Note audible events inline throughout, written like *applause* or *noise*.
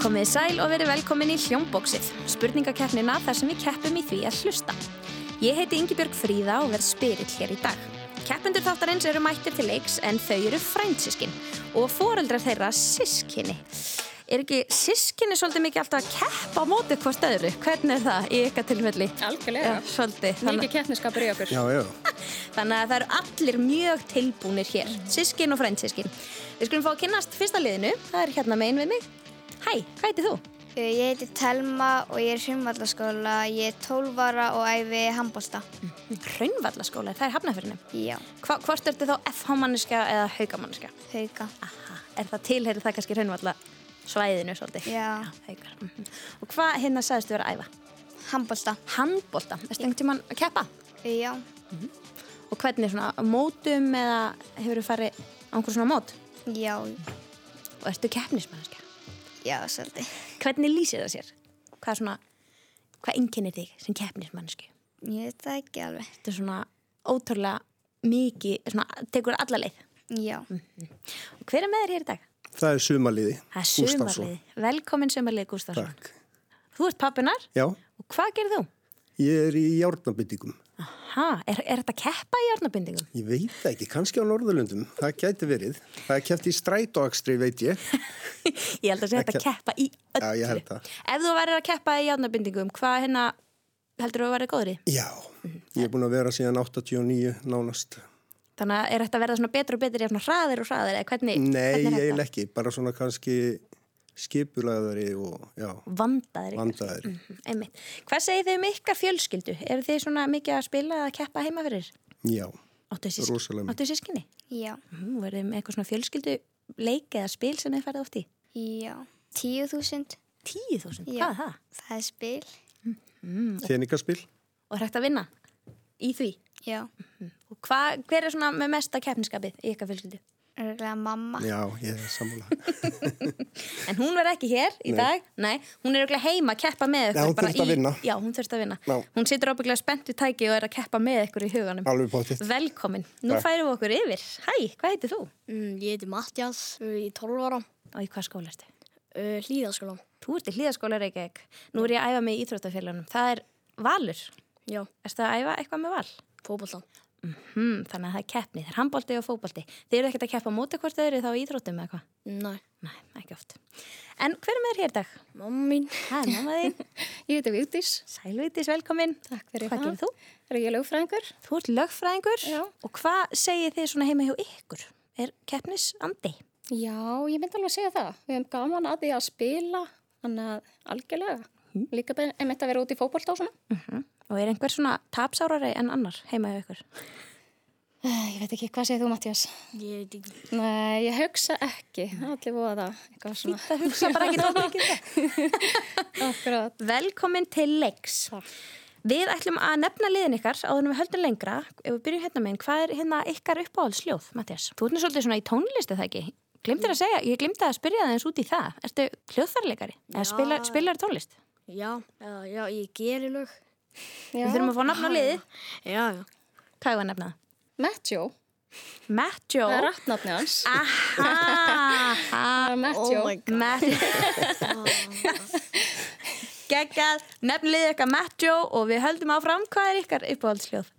Komið sæl og verið velkomin í Hljómbóksið, spurningakeppnina þar sem við keppum í því að hlusta. Ég heiti Ingibjörg Fríða og verð spyrill hér í dag. Keppendur þáttarins eru mættir til leiks en þau eru frændsískin og foreldrar þeirra sískinni. Er ekki sískinni svolítið mikið alltaf að keppa á móti hvort öðru? Hvernig er það í ykkar tilfelli? Algjörlega. Já, svolítið. Þannig- Mikið keppniskapur í okkur. Já, já. Þannig að það eru allir mjög tilbúnir hér, sískin og frændsískin. Við skulum fá að kynnast fyrsta liðinu, það er hérna megin við mig. Hæ, hvað heitir þú? Uh, Ég heiti Telma og ég er svimvallaskóla, ég er 12 ára og æfi handbólta. Mhm. Hraunvallaskóla, það er hafnafyrinum. Já, Hva, hvort ertu þá FH-manniska eða haukamanniska? hauka. Aha, er það tilheyrið það kannski hraunvalla svæðinu svolítið? Já. haukar. mhm. Og hvað hérna sagðist þú vera að æfa? Handbólta. Handbólta, erstu einhvern tímann að keppa? Já, Og hvernig svona á mótum eða hefur þú farið á einhver svona mót? já, Og ertu keppnismanniska? já, svolítið. Hvernig lýsir það sér? Hvað svona, hvað einkennir þig sem keppnismanniski? Ég veit það ekki alveg. Þetta er svona ótrúlega mikið, svona tekur alla leið. Já, Mhm. Og hver er með þér hér í dag? Það er sumaliði. Það er Gústafsson. sumarlið. Velkomin sumarlið Gustafsson. Takk. Þú ert pappinar Já, og hvað gerir þú? ég er í járnabyttingum. Aha, er, er þetta keppa í járnabindingum? Ég veit það ekki, kannski á Norðurlundum. Það gæti verið. Það er kæft í strætóakstri, veit ég. Ég held að sé þetta keppa í öllu. Já, ég held það. Ef þú værir að keppa í járnabindingum, hvað hérna heldur þú að verið góður í? Já, ég er búin að vera síðan 89 nánast. Þannig að er þetta að verða svona betur og betur í svona hraðir og hraðir eða hvernig, Nei, hvernig eiginlega ekki. Bara svona kannski skipulaðari og já, Vandaðir. vandaðari. Einmitt. Hvað segir þið um ykkar fjölskyldu? Eru þið svona mikið að spila eða keppa heima fyrir? Já, Áttu Rosalega sískinni? mikið. Áttu sískinni? já, Nú, verðum með eitthvað svona fjölskyldu leik eða spil sem þið farið oft í? já. 10.000, Tíu þúsund, Já. hvað er það? það er spil. Mm. Tjeningaspil. Og er hægt að vinna í því. Já, Og hva, hver er svona með mesta keppniskapið í ykkar fjölskyldu? örgulega mamma. Já, ég er sammála. En hún var ekki hér í dag, nei, hún er auðvitað heima að keppa með ykkur. Nei, hún bara þurfti að í- vinna. Já, hún þurft að vinna. Já. Hún situr ábygglega spennt við tæki og er að keppa með ykkur í huganum. Alveg pottitt. Velkomin, nú Takk. færum við okkur yfir. Hæ, hvað heitir þú? Mm, ég heiti Mattias, ég er 12 ára, Og í hvað skóla ertu? uh, hlýðaskóla. Þú ert í hlýðaskóla Reykjavík. Nú er ég að æfa mig í Íþróttafélagunum. Það er valur. Já, Erstu að æfa eitthvað með val? fókbalta. Hmm, þannig að það er keppni. Það er handbólti og fótbólti. Þið eru ekkert að keppa á móti hvort öðru þá í Íþróttum eða hvað? Næ, Nei, ekki oft. En hver er með þér hér í dag? mamma mín. Það er mamma þín. Ég heiti Vigdís. Sælvítis, velkomin. Takk fyrir Hvað það. gerir þú? Er ég lögfræðingur? Þú ert lögfræðingur. Já. Og hvað segir þið svona heima hjá ykkur? Er keppnis andi? Já, ég myndi alveg að segja það. Við hefum gaman að því að spila, þannig að algjörlega. Líka bara einmitt að vera út í fókbalt á svona. Og er einhver svona tapsárari en annar heima hjá ykkur? Eh, Ég veit ekki, hvað segir þú, Mattias? Ég veit ekki. Nei, ég hugsa ekki. Allir voða það. Eitthvað svona. Það hugsa bara *laughs* ekki tótt ekki það. Akkurat. Velkomin til leiks. Við ætlum að nefna liðin ykkar áður en við höldum lengra. Ef við byrjum hérna meginn, hvað er hérna ykkar uppáhaldsljóð, Mm. Mattias? Þú ert nú svolítið svona í tónlisti það ekki? Glimtir að segja, ég glimti að spyrja það eins út í það. Ertu hljóðfærleikari? Eða spilar, spilar tónlist? Já, já, já, ég gerir lög. Já. Við þurfum að fá nafn á liðið. Já, já. Hvað er að nefna það? Matjó. Matt Joe. Það er rappnafni hans. Aha! Það er Matjó. my Matt *laughs* Gekkað, nefn liðið ykkar Matt Joe og við höldum áfram. Hvað er ykkar uppáhaldsljóð?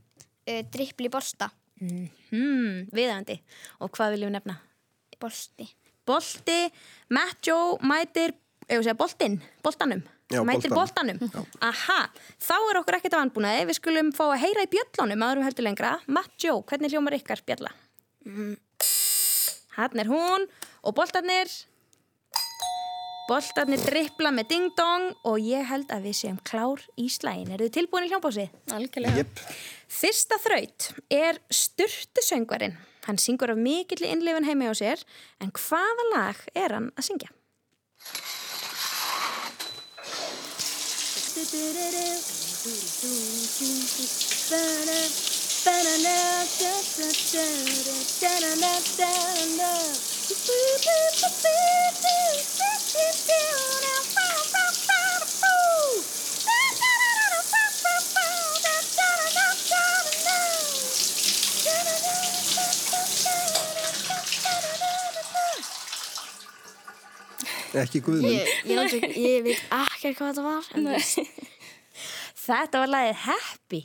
Uh, Drippli bolta, Hmm, viðandi. Og hvað viljum við nefna? bolti. Bolti, Matt Joe mætir, ef við segja boltinn, boltanum. Já, mætir boltanum. Aha, þá er okkur ekkert að vanbúnaði. Við skulum fá að heyra í bjöllunum aðurum heldur lengra. Matt Joe, hvernig hljómar ykkar bjölla? Hann er hún og boltarnir. Boltarnir drippla með ding-dong og ég held að við séum klár í slægin. Eru þið tilbúin í hljómbásið? Algjörlega. Jep. Fyrsta þraut er Sturtusöngvarinn. Hann syngur af mikill innlifin heimi á sér, en hvaða lag er hann að syngja? ekki Guðmund. Ég, ég, aldrei, ég veit ekki hvað þetta var. En, veist, Þetta var lagið Happy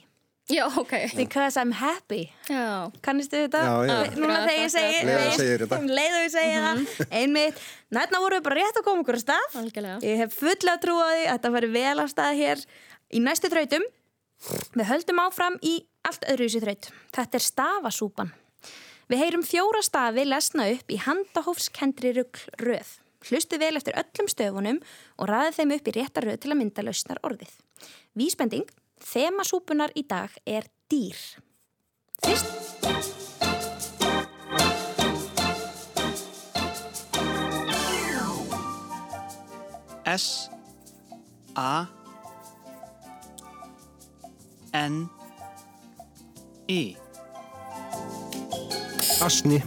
*laughs* Já, ok. Because I'm happy Já, Kannistu þetta? Já, já. Við- Núna þegar ég segi Leiða þú segir þetta. Mhm. Leiðu ég segi það Einmitt Nætna vorum við bara rétt að koma okkur á stað algjörlega. Ég hef fulla trú á því að þetta fari vel af stað hér í næstu þrautum. Við höldum áfram í allt öðruvísi þraut. Þetta er stafasúpan. Við heyrum fjóra stafi lesna upp í handahófskendri röð. Hlustu vel eftir öllum stöfunum og ræðið þeim upp í rétta röð til að mynda lausnar orðið. Vísbending, þemasúpunar í dag er dýr. Fyrst S A N E Asni.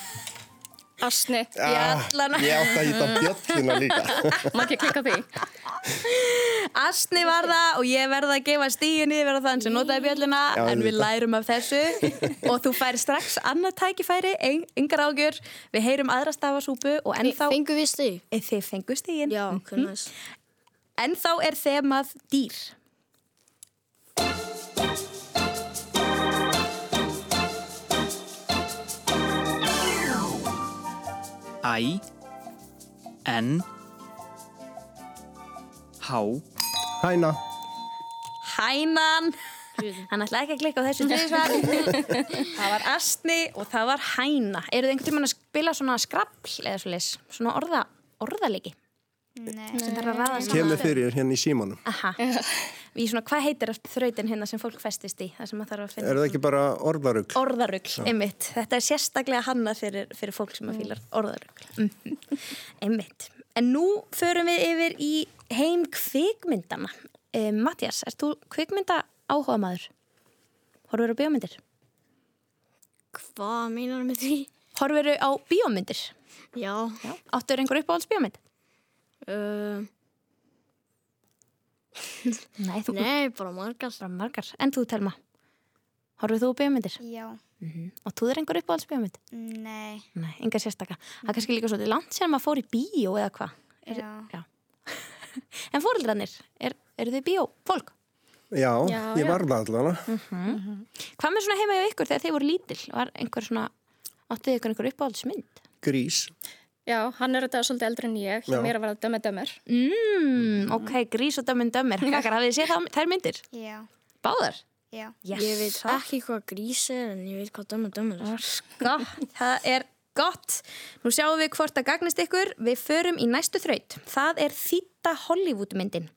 *laughs* Asni, Bjallana. Ah, Ég átti að hýta bjöllina *laughs* líka. maður ekki klikka því. Asni var það og ég verða að gefa stíðin yfir á þann sem notaði bjölluna Já, en við auðvitað. lærum af *laughs* þessu og þú fær strax annað tækifæri, ein, yngar ágjör við heyrum aðra stafasúpu og ennþá Fengu við stig? Eh, þið fengu stíðin Já, hvernig þess. ennþá er þemað dýr I N H Hæna. Hænan Hann ætlaði ekki að klikka á þessu þriðisvar Það var asni og það var hæna Eru þið einhvern tímann að spila svona skrapl eða svoleiðis, svona orða, orðalegi Nei. sem þarf að ræða saman Kemur fyrir hérna í símanum. Aha. Í svona, hvað heitir allt þrautin hérna sem fólk festist í? Það sem maður þarf að finna. Er það ekki bara orðarugl? Orðarugl, einmitt. Þetta er sérstaklega hanna fyrir, fyrir fólk sem Mm. að fílar orðarugl. Mhm. einmitt. En nú förum við yfir í heim kvikmyndana. E, Mattias, ert þú kvikmynda áhuga maður? Horfur á bíómyndir? Hvað meinar með því? Horfur á bíómyndir? Já. Já. Áttur einhver uppáhalds bíómynd? Uh, Nei, þú nei, bara margar. bara margar. En þú, Telma? Horfur þú á bíómyndir? Já. Og þú er einhver uppáhalds bíómynd? Nei. Nei, enga sérstaka. Það er kannski líka svolítið langt sem maður fór í bíó eða hvað. Er- Já. Já. en fóreldrarnir, er, eru þið bíó fólk? Já, Já, ég já. var það allavega. Hvað með svona heima hjá ykkur þegar þið voru lítil? Var einhver svona, áttuð ykkur einhver uppáhaldsmynd? Grís. Já, hann er þetta svolítið eldri en ég, hjá Já. mér að vera dömmer dömmer. Mm, ok, grís og dömmin *laughs* dömmir. Kakar, hafið þið séð það, þær myndir? Já. Báðar? Já. Yes. Ég veit ekki hvað grís er en ég veit hvað dömur dömur er. Gott, það er gott. Nú sjáum við hvort að gagnist ykkur. Við förum í næstu þraut. Það er þýta Hollywoodmyndin.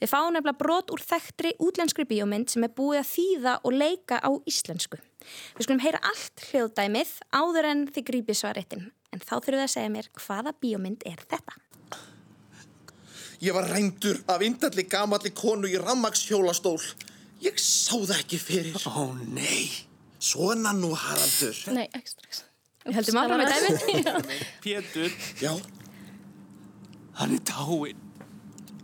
Við fáum nefnilega brot úr þekktri útlenskri bíómynd sem er búið að þýða og leika á íslensku. Við skulum heyra allt hljóðdæmið áður en þið grípið svarettin. En þá þurfum við að segja mér hvaða bíómynd er þetta. Ég var rændur af indalli gamalli konu í rammakshjólastól. Ég sá það ekki fyrir. Ó nei, svona nú Haraldur. Nei, ekki strax. Við höldum áfram með dæmið. Pétur, Já. hann er dáinn.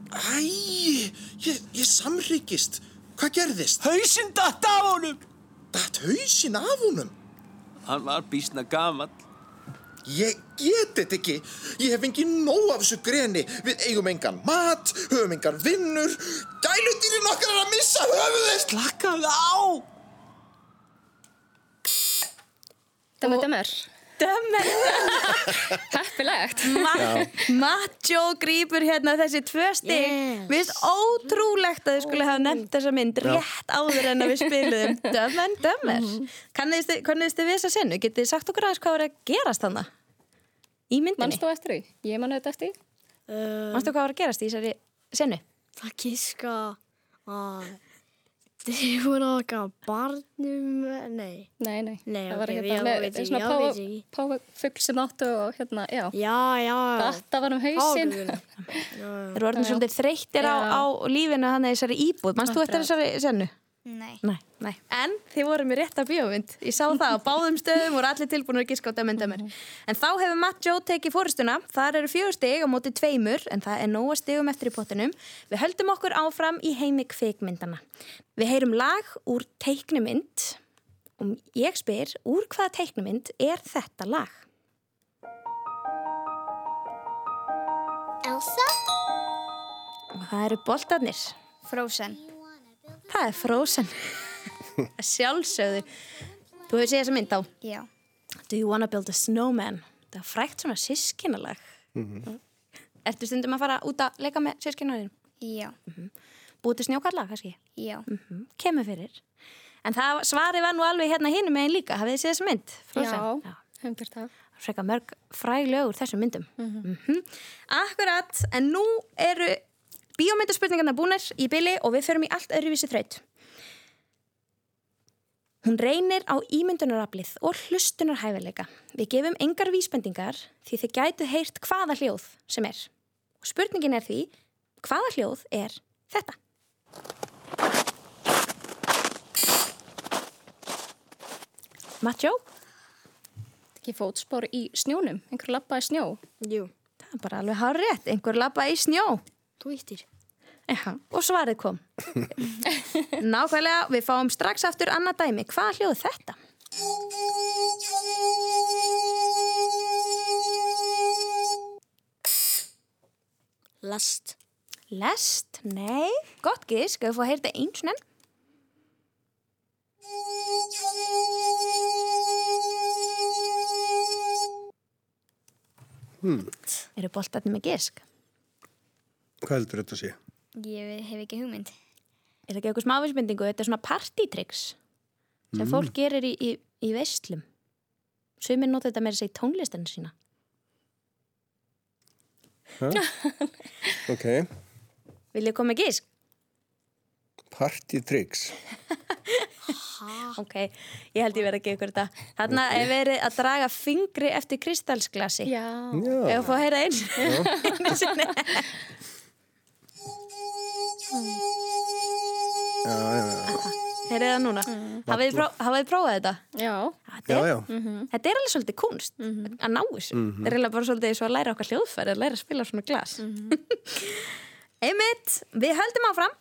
Æ, ég, ég samryggist. Hvað gerðist? Hausinn datt af honum. Datt hausinn af honum? Hann var bísna gamall. Ég get þetta ekki. Ég hef engin nóg af þessu greni. Við eigum engan mat, höfum engan vinnur. Gæludýrin okkar er að missa höfuðið. Slakkaðu á. Dömmer dömmer. Dömmir! Heppilegt. Mm. Ma Macho grýpur hérna þessi tvö stig Yes. Mér finnst ótrúlegt að þið skulle hafa nefnt þessa mynd rétt áður en að við spiluðum Dömmen, dömmer Kanniðist þið- Kanniðist þið við þessa senu? Getið þið sagt okkur aðeins hvað var að gerast þannig? Í myndinni? Manst þú eftir því? Ég man auðvitað eftir því. Uh, Manstu hvað var að gerast í þessari senu? það gíska að þið voru að gaf barnum, nei. Nei, nei. Nei, það var ok, hérna já, með- veit ekki, svona já, páfa- veit ekki. páfugl sem áttu og hérna, já. Já, já, já. Þetta var um hausinn. *laughs* Hálugunum. Þeir voru orðin svolítið þreyttir á, á lífinu hann eða þessari íbúð Manst þú eftir þessari senu? Nei. Nei, nei. En þið voru með rétta bíómynd. Ég sá það *laughs* á báðum stöðum og allir tilbúinur að gíska á dömend dömer. En þá hefur Matt Joe tekið fóristuna. Þar eru fjögur stig á móti tveimur en það er nóga stigum eftir í pottinum. Við höldum okkur áfram í heimi kvikmyndana. Við heyrum lag úr teiknumynd og ég spyr úr hvaða teiknumynd er þetta lag? Elsa? Það eru boltarnir. Frozen. Það er Frozen. Að Sjálfsögðu. Þú hefur séð þessa mynd á. Já. Do you wanna build a snowman? Það er frækt svona sískinalag. Ertu stundum að fara út að leika með sískinaðin? Já. Búið til snjókalla, kannski? Já. Mhm, kemur fyrir. En það svarið var nú alveg hérna hinum megin líka. Hafið þið séð þessu mynd? Frozen? Já, hefum gert það. Sveka mörg fræglög úr þessum myndum. Mm Akkurat, en nú eru bíómyndaspurningarna búnar í byli og við förum í allt öðruvísi þraut. Hún reynir á ímyndunaraflið og hlustunarhæfileika. Við gefum engar vísbendingar því þið gætu heyrt hvaða hljóð sem er. Og spurningin er því, hvaða hljóð er þetta? Mattjó? Ekki fótspor í snjónum, einhver lappa í snjó. Jú. Það er bara alveg hár rétt, einhver lappa í snjó. Þú íttir. Já. Og svarið *laughs* kom. Nákvæmlega, við fáum strax aftur annað dæmi. Hvað hljóð er þetta? Last. Lest? Nei. Gott gísk, ef við fá að heyrta eins og enn. Hmm. Eru boltarnir með gísk? Hvað heldur þetta að sé? Ég hef ekki hugmynd. Er það ekki eitthvað smávismyndingu? Þetta er svona partytricks sem fólk gerir í, í, í veistlum. Sumir nota þetta meira að segja í tónlistinu sína. Ok, Viljið koma með gísk? party tricks. Ok, ég held ég verið að gefa ykkur þetta. Þarna er verið að draga fingri eftir kristalsglasi. Já, Ef Já, þú fá að heyra eins. einu sinni. já, já, já. *laughs* Heyrið það núna. Hafið þið pró- hafið þið prófað þetta? já, Þetta já, er, Mhm. já. Mhm. þetta er alveg svolítið kunst að ná þessu. Þetta er eiginlega bara svolítið eins og að læra okkar hljóðfæri að læra að spila svona glas. *laughs* Einmitt, við höldum áfram.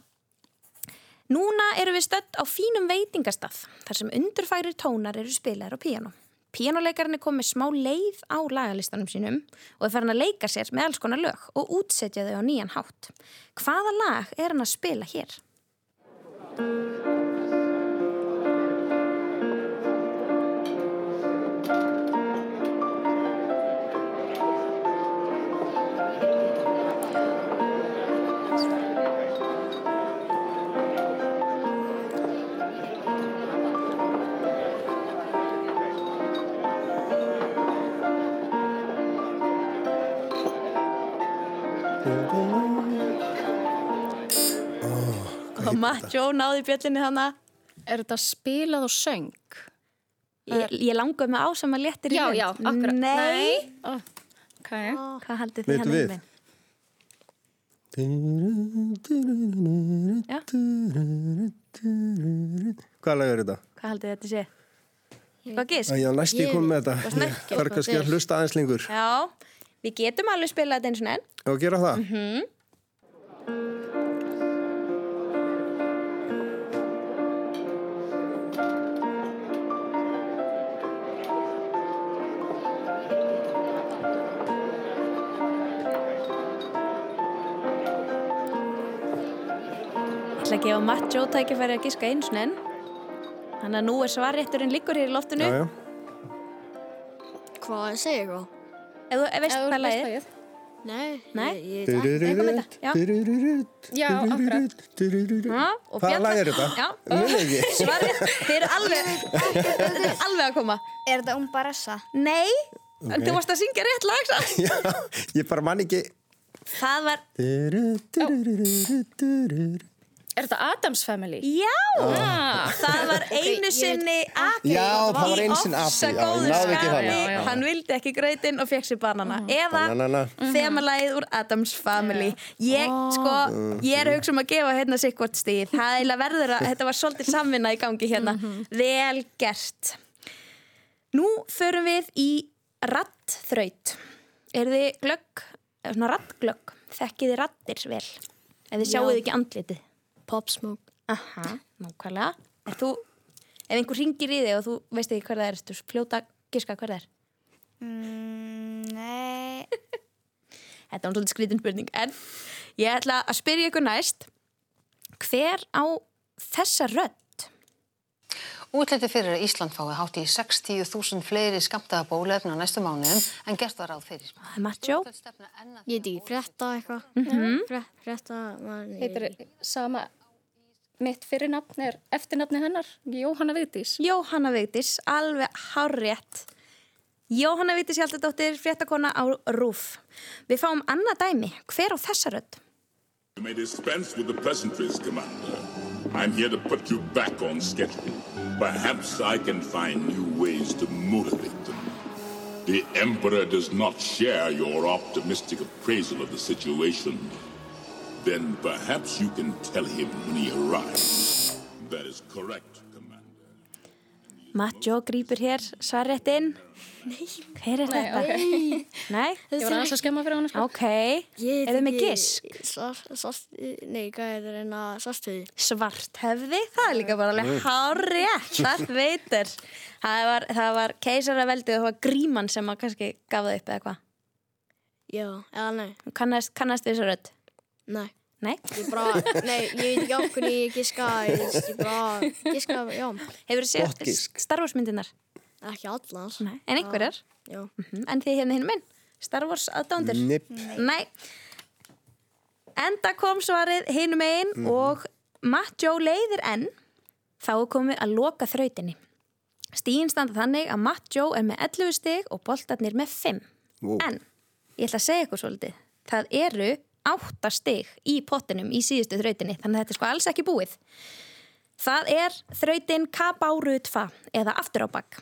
Núna erum við stödd á fínum veitingastað þar sem undurfærir tónar eru spilaðir á píano. Píanoleikarinn er komið smá leið á lagalistanum sínum og er farin að leika sér með alls konar lög og útsetja þau á nýjan hátt. Hvaða lag er hann að spila hér? Og Mattjó náði bjöllinni þannig. er þetta spilað og söng? Ég, ég langaði með ásama léttir í Eh. Já, hönd. já, akkurat. Nei. Ó, ok, Ah. Hvað haldið þið Vitum hann við? um minn? Hvað lag er þetta? Hvað haldið þið þetta sé? Hvað gísk? Æ, Já, næst ég kom með þetta. varst Ég ekki þarf kannski að hlusta aðeins lengur. Já, við getum alveg spilað þetta eins og enn. Og gera það? Ég ætla að gefa Mattjó tækifæri að gíska eins og enn. Þannig að nú er svarrétturinn liggur hér í loftinu. Já, já. Hvað á ég að segja eitthvað? Ef þú ef veist Eða hvað þú veist lagið. lagið? Nei. Nei. Ég, ég, veit ekki. Durururut, Já. Ah. durururut, Já, akkurat. durururut, durururut. Já, og Hvaða Bjarna- lag er þetta? Já. Mér ekki. *laughs* Svarrétt, þið eru alveg, þið eru alveg að koma. Er þetta um Barassa? Nei, en Ok. þú varst að syngja rétt lag *laughs* samt. Já, ég bara man ekki. Það var, Dururut, durururut, durururut. Er þetta Adams Family? já, Ah. það var einu sinni Akri. Já, það var einu sinni api, já, ég náði ekki þannig. Mm. Já, já. Hann vildi ekki gröytin og fekk sér banana. Eða Bananana. Mhm. þemalægið úr Adams Family. Ég, sko, ég er að hugsa um að gefa hérna sig hvort stíð. Það er eiginlega verður að þetta var svolítið samvinna í gangi hérna. Mhm. Vel gert. Nú förum við í rattþraut. Er þið glögg, eða svona rattglögg? Þekkið þið rattir vel? Ef þið sjáuð ekki andlitið? Pop Smoke. Aha, nákvæmlega. Er þú, ef einhver ringir í þig og þú veist ekki hver það er, þú fljóta að giska hver það er. Mm, nei. Þetta var svolítið skrítin spurning, en ég ætla að spyrja ykkur næst. Hver á þessa rödd? Útliti fyrir að Ísland fái hátt í 60.000 fleiri skamtaða bólefni á næstu mánuðum en gert var ráð fyrir. Það er Mattjó. Ég veit ekki, frétta eitthvað. Mhm. Frétta, frétta, maður. Heitir sama, mitt fyrirnafn er eftirnafni hennar, Jóhanna Vigdís. Jóhanna Vigdís, alveg hárrétt. Jóhanna Vigdís Hjaldadóttir, fréttakona á RÚF. Við fáum annað dæmi. Hver á þessa rödd? You may dispense with the pleasantries, Commander. I'm here to put you back on schedule. Perhaps I can find new ways to motivate them. The Emperor does not share your optimistic appraisal of the situation. Then perhaps you can tell him when he arrives. That is correct, Commander. Mattjó grýpur hér svarréttin. Nei. Hver er þetta? Nei. Ég var aðeins að skemma fyrir hana, sko. Ok. Er þið með gisk? Sást, nei, hvað er það reyna sástöði? svart hefði, það er líka bara alveg hárétt, *laughs* það veitir það var, það var keisaraveldið og það var gríman sem að kannski gaf það upp eða hvað, Já, eða nei, Þú kannast, kannast við þessu rödd nei. nei, Ég *laughs* bara, nei, ég veit ekki á hvernig ég giska, ég veist, ég bara, giska, já, hefur Gott þið gisk. séð Star Wars myndinar, ekki allar. nei. en einhverjar Ah. Já. Mhm, en þið hérna hinn minn, Star Wars aðdándir Nipp. nei enda kom svarið hinum einn og Matt Joe leiðir enn þá er komið að loka þrautinni stíðin standa þannig að Matt Joe er með 11 stig og boltarnir með 5 Vó. en ég ætla að segja ykkur svolítið það eru 8 stig í pottinum í síðustu þrautinni þannig að þetta er sko alls ekki búið Það er þrautin Kabárutfa eða aftur á bakk.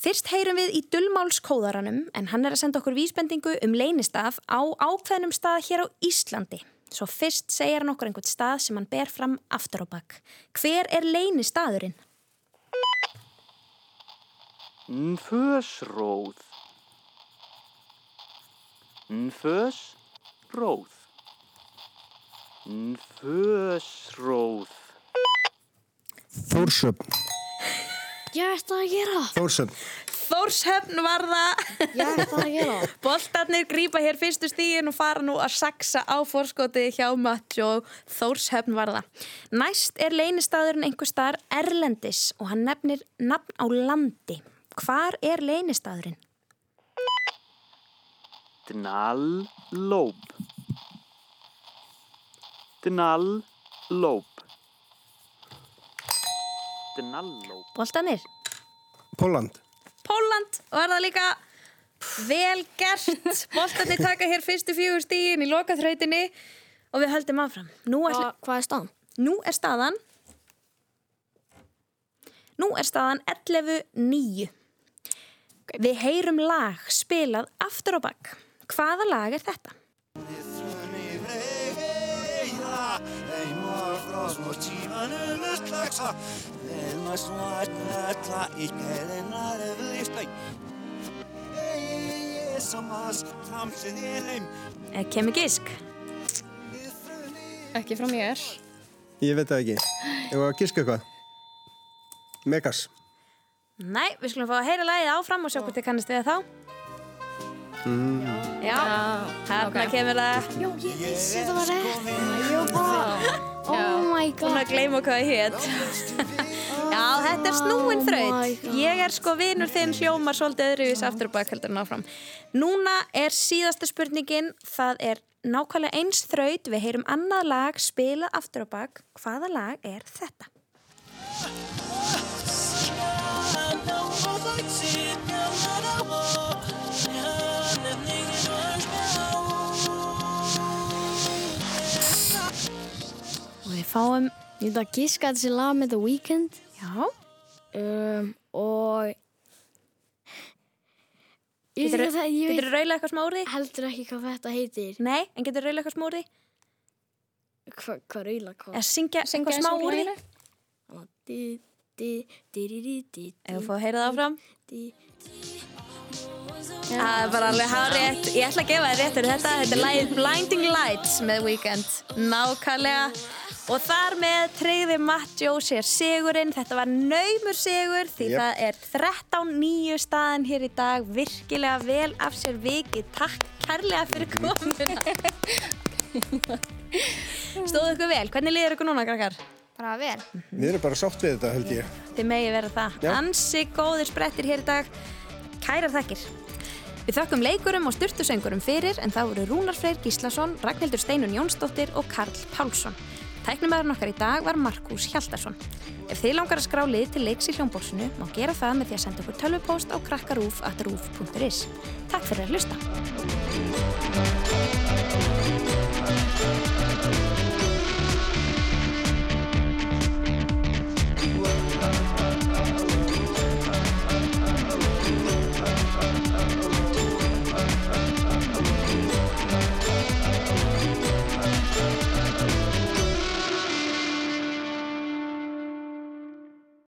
Fyrst heyrum við í dullmálskóðaranum en hann er að senda okkur vísbendingu um leynistaf á ákveðnum stað hér á Íslandi. Svo fyrst segir hann okkur einhvern stað sem hann ber fram aftur á bakk. Hver er leynistaðurinn? Nfösróð Nfösróð Nfösróð Þórsöfn. Ég ætti að gera, Þórsöfn. Þórshöfn var það. ég ætti að gera. *laughs* Boltarnir grýpa hér fyrstu stíðin og fara nú að saksa á fórskotið hjá Matt og Þórshöfn var það. Næst er leynistaðurinn einhver staðar Erlendis og hann nefnir nafn á landi. Hvar er leynistaðurinn? Dnallóp Dnallóp Dnallóp Boltanir. Póland. Póland var það líka vel gert. Boltanir taka hér fyrstu fjögur stíðin í lokaþrautinni og við höldum áfram. Nú er, Hva, hvað er staðan? nú er staðan Nú er staðan 11.9 Við heyrum lag spilað aftur á bakk Hvaða lag er þetta? Eh, Kemur gísk Ekki frá mér. Ég veit það ekki. Ég var að gíska eitthvað. Megas. Nei, við skulum fá að heyra lagið áfram og sjá hvort þið kannast við það þá Mm. Já, þarna kemur það Þetta var rétt. Ég bara, oh my god. Búin að gleyma hvað ég hétt *laughs* Já, þetta er snúin þraut Ég er sko vinur þinn hljómar svolítið öðruvís aftur og bakkeldur náfram Núna er síðasta spurningin Það er nákvæmlega eins þraut Við heyrum annað lag spila aftur og bak Hvaða lag er þetta? Og við fáum Ég ætla að gíska að þessi lag með The Weeknd Já, um, og ég veit getur ekki það, ég þú veit raula eitthvað smá úr því? heldur ekki hvað þetta heitir Nei, en getur þú raula eitthvað smá úr því? Hva, hvað raula hvað Eða syngja, syngja eins smá og úr því? laginu. di, di, di, di, di, di, Ef þú fá að heyra það áfram di. Það er bara alveg hárétt. Ég ætla að gefa þér rétt fyrir þetta. Þetta er lagið Blinding Lights með Weekend. Nákvæmlega. Og þar með treyði Matt Jó sér sigurinn. Þetta var naumur sigur því Jep. það er 13.9 staðan hér í dag. Virkilega vel af sér vikið. Takk kærlega fyrir komuna. Stóðu ykkur vel. Hvernig liður ykkur núna, krakkar? Bara vel. Við erum bara sátt við þetta, held ég. Þið megi vera það. Já. Ansi góðir sprettir hér í dag. Kærar þakkir. Við þökkum leikurum og styrtusöngurum fyrir en það voru Rúnar Freyr Gíslason, Ragnhildur Steinun Jónsdóttir og Karl Pálsson. Tæknumæðurinn okkar í dag var Markús Hjaldarsson. Ef þið langar að skrá lið til leiks í hljómbólsinu má gera það með því að senda okkur tölvupóst á krakkarúf.rúf.is. Takk fyrir að hlusta.